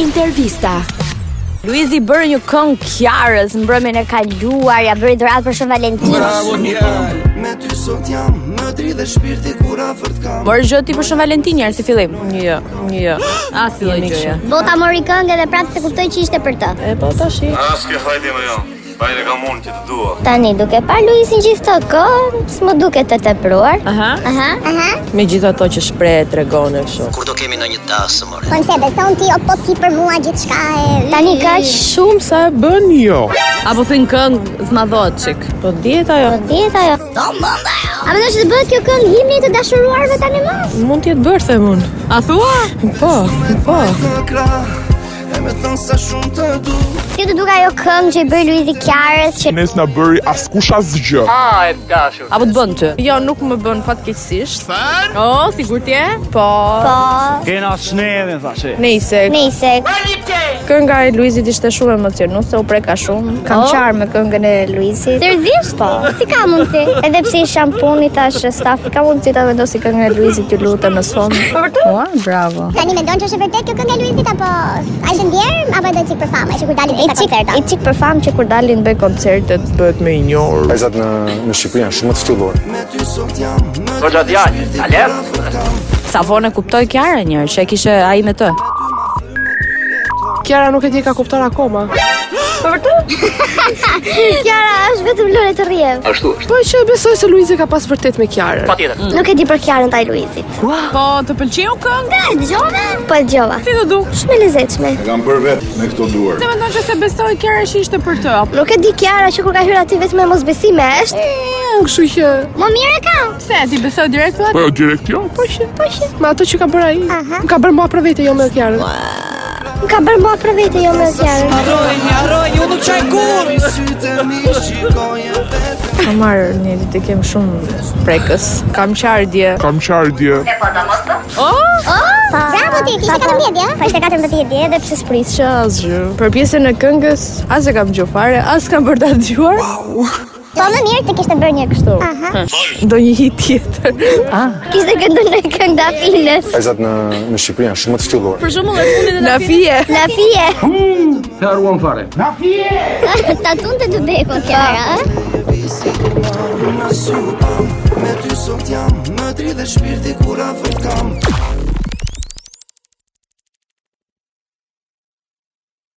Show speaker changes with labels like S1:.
S1: Intervista.
S2: Luizi bërë një këngë kjarës në mbrëmjen e kaluar, ja bëri dorat për Shën Valentin.
S3: Bravo djalë Me ty sot jam Më dri dhe shpirti kur afërt kam
S4: Por gjë ti për Shën Valentin njerë si fillim.
S5: Një jo, një jo.
S4: As filloj gjëja.
S2: Bota mori këngë dhe prapë se kuptoj që ishte për të.
S5: E po tash i.
S6: A s'ke hajde jo. më jam Bajre ka mund që të dua
S2: Tani duke par Luizin gjithë këtë kohë, s'më duket të tepruar.
S5: Aha.
S2: Aha, aha.
S5: Me gjithë ato që shpreh tregon e kështu.
S7: Kur do kemi në një dasë, more
S2: Po nëse beson ti o po ti për mua gjithçka e Tani kaq
S5: Shumë sa e bën jo.
S4: Apo thënë këngë zmadhohet çik.
S5: Po dihet ajo.
S2: dieta ajo. Do mund. A mendosh të bëhet kjo këngë himni të dashuruarve tani më?
S5: Mund të jetë bërë themun.
S4: A thua?
S5: Po, po.
S3: Në kra E me thënë sa shumë të du
S2: Kjo të duk ajo këngë që i bëri Luizi Kjarës që
S8: Nes na bëri askush asgjë.
S4: Apo të bën ty?
S5: Jo, nuk më bën fatkeqësisht.
S4: Oh, sigurt je?
S5: Po.
S2: po
S6: Kena sneve, thashe
S5: Nejse,
S2: Nëse
S5: kënga e Luizit ishte shumë emocionuese, u preka shumë. Kam qarë me këngën e Luizit.
S2: Seriozisht po, si ka mundsi? Edhe pse i shampuni tash stafi ka mundsi ta vendosi këngën e Luizit ju lutem në son.
S5: Ua, bravo.
S2: Tani mendon që është e vërtet kjo këngë e Luizit apo ai të ndjer apo do çik për famë që kur dalin në koncerta? I çik për famë që kur dalin bëj koncertet.
S5: Bëhet më i njohur.
S9: Vajzat në në Shqipëri janë shumë të ftyllur.
S3: Me ty sot jam Më
S6: Hoxha djallë, a lep?
S4: Sa vonë e kuptoj Kiara njërë, që e kishe ai me të.
S5: Kiara nuk e di ka kuptuar akoma.
S2: Kiara është vetëm lore të rrjev.
S6: Ashtu është
S5: Po që besoj se Luizi ka pas vërtet me Kiarën.
S6: Pa tjetër
S2: Nuk e di për Kiarën taj Luizit.
S4: Po, të pëlqeu këngë?
S2: E dëgjove? Po e dëgjova.
S4: Si të duk?
S2: Shumë e lezetshme.
S9: E kam bërë vetë me këto duar.
S4: Ti mendon që se besoj Kiara që ishte për të? apo?
S2: Nuk e di Kiara që kur ka hyrë aty vetëm me mosbesime është.
S5: Kështu që,
S2: Më mirë e ka.
S4: Pse ti besoj direkt thua?
S8: Po jo direkt jo.
S5: po që, po që. Me ato që ka bërë ai, më ka bërë mua për vete jo me Kiarën.
S2: Më ka bërë mua për vete jo me Kiarën.
S3: Mi sytë e mi shikoje vetë
S5: Kam marrë një ditë kem shumë prekës. Kam qarë dje.
S8: Kam qarë dje.
S2: Oh, bravo ti, kishte 14 dje? Po ishte 14 dje dhe pse sprit.
S5: Që asgjë. Për pjesën e këngës, as e kam gjuh fare, as kam bërë ta dëgjuar.
S2: Po më mirë të kishte bërë një kështu.
S5: Do një hit tjetër.
S2: Kishte këndën në këngë dafines.
S9: Vajzat në në Shqipëri janë shumë të ftyllur.
S4: Për shembull, e fundit
S5: Na fije.
S2: Na fije.
S6: Të arruan fare
S2: Ta tunte të beku Kiara, ë?
S3: Në supam Me ty sot jam Më dri dhe shpirti kur afërt kam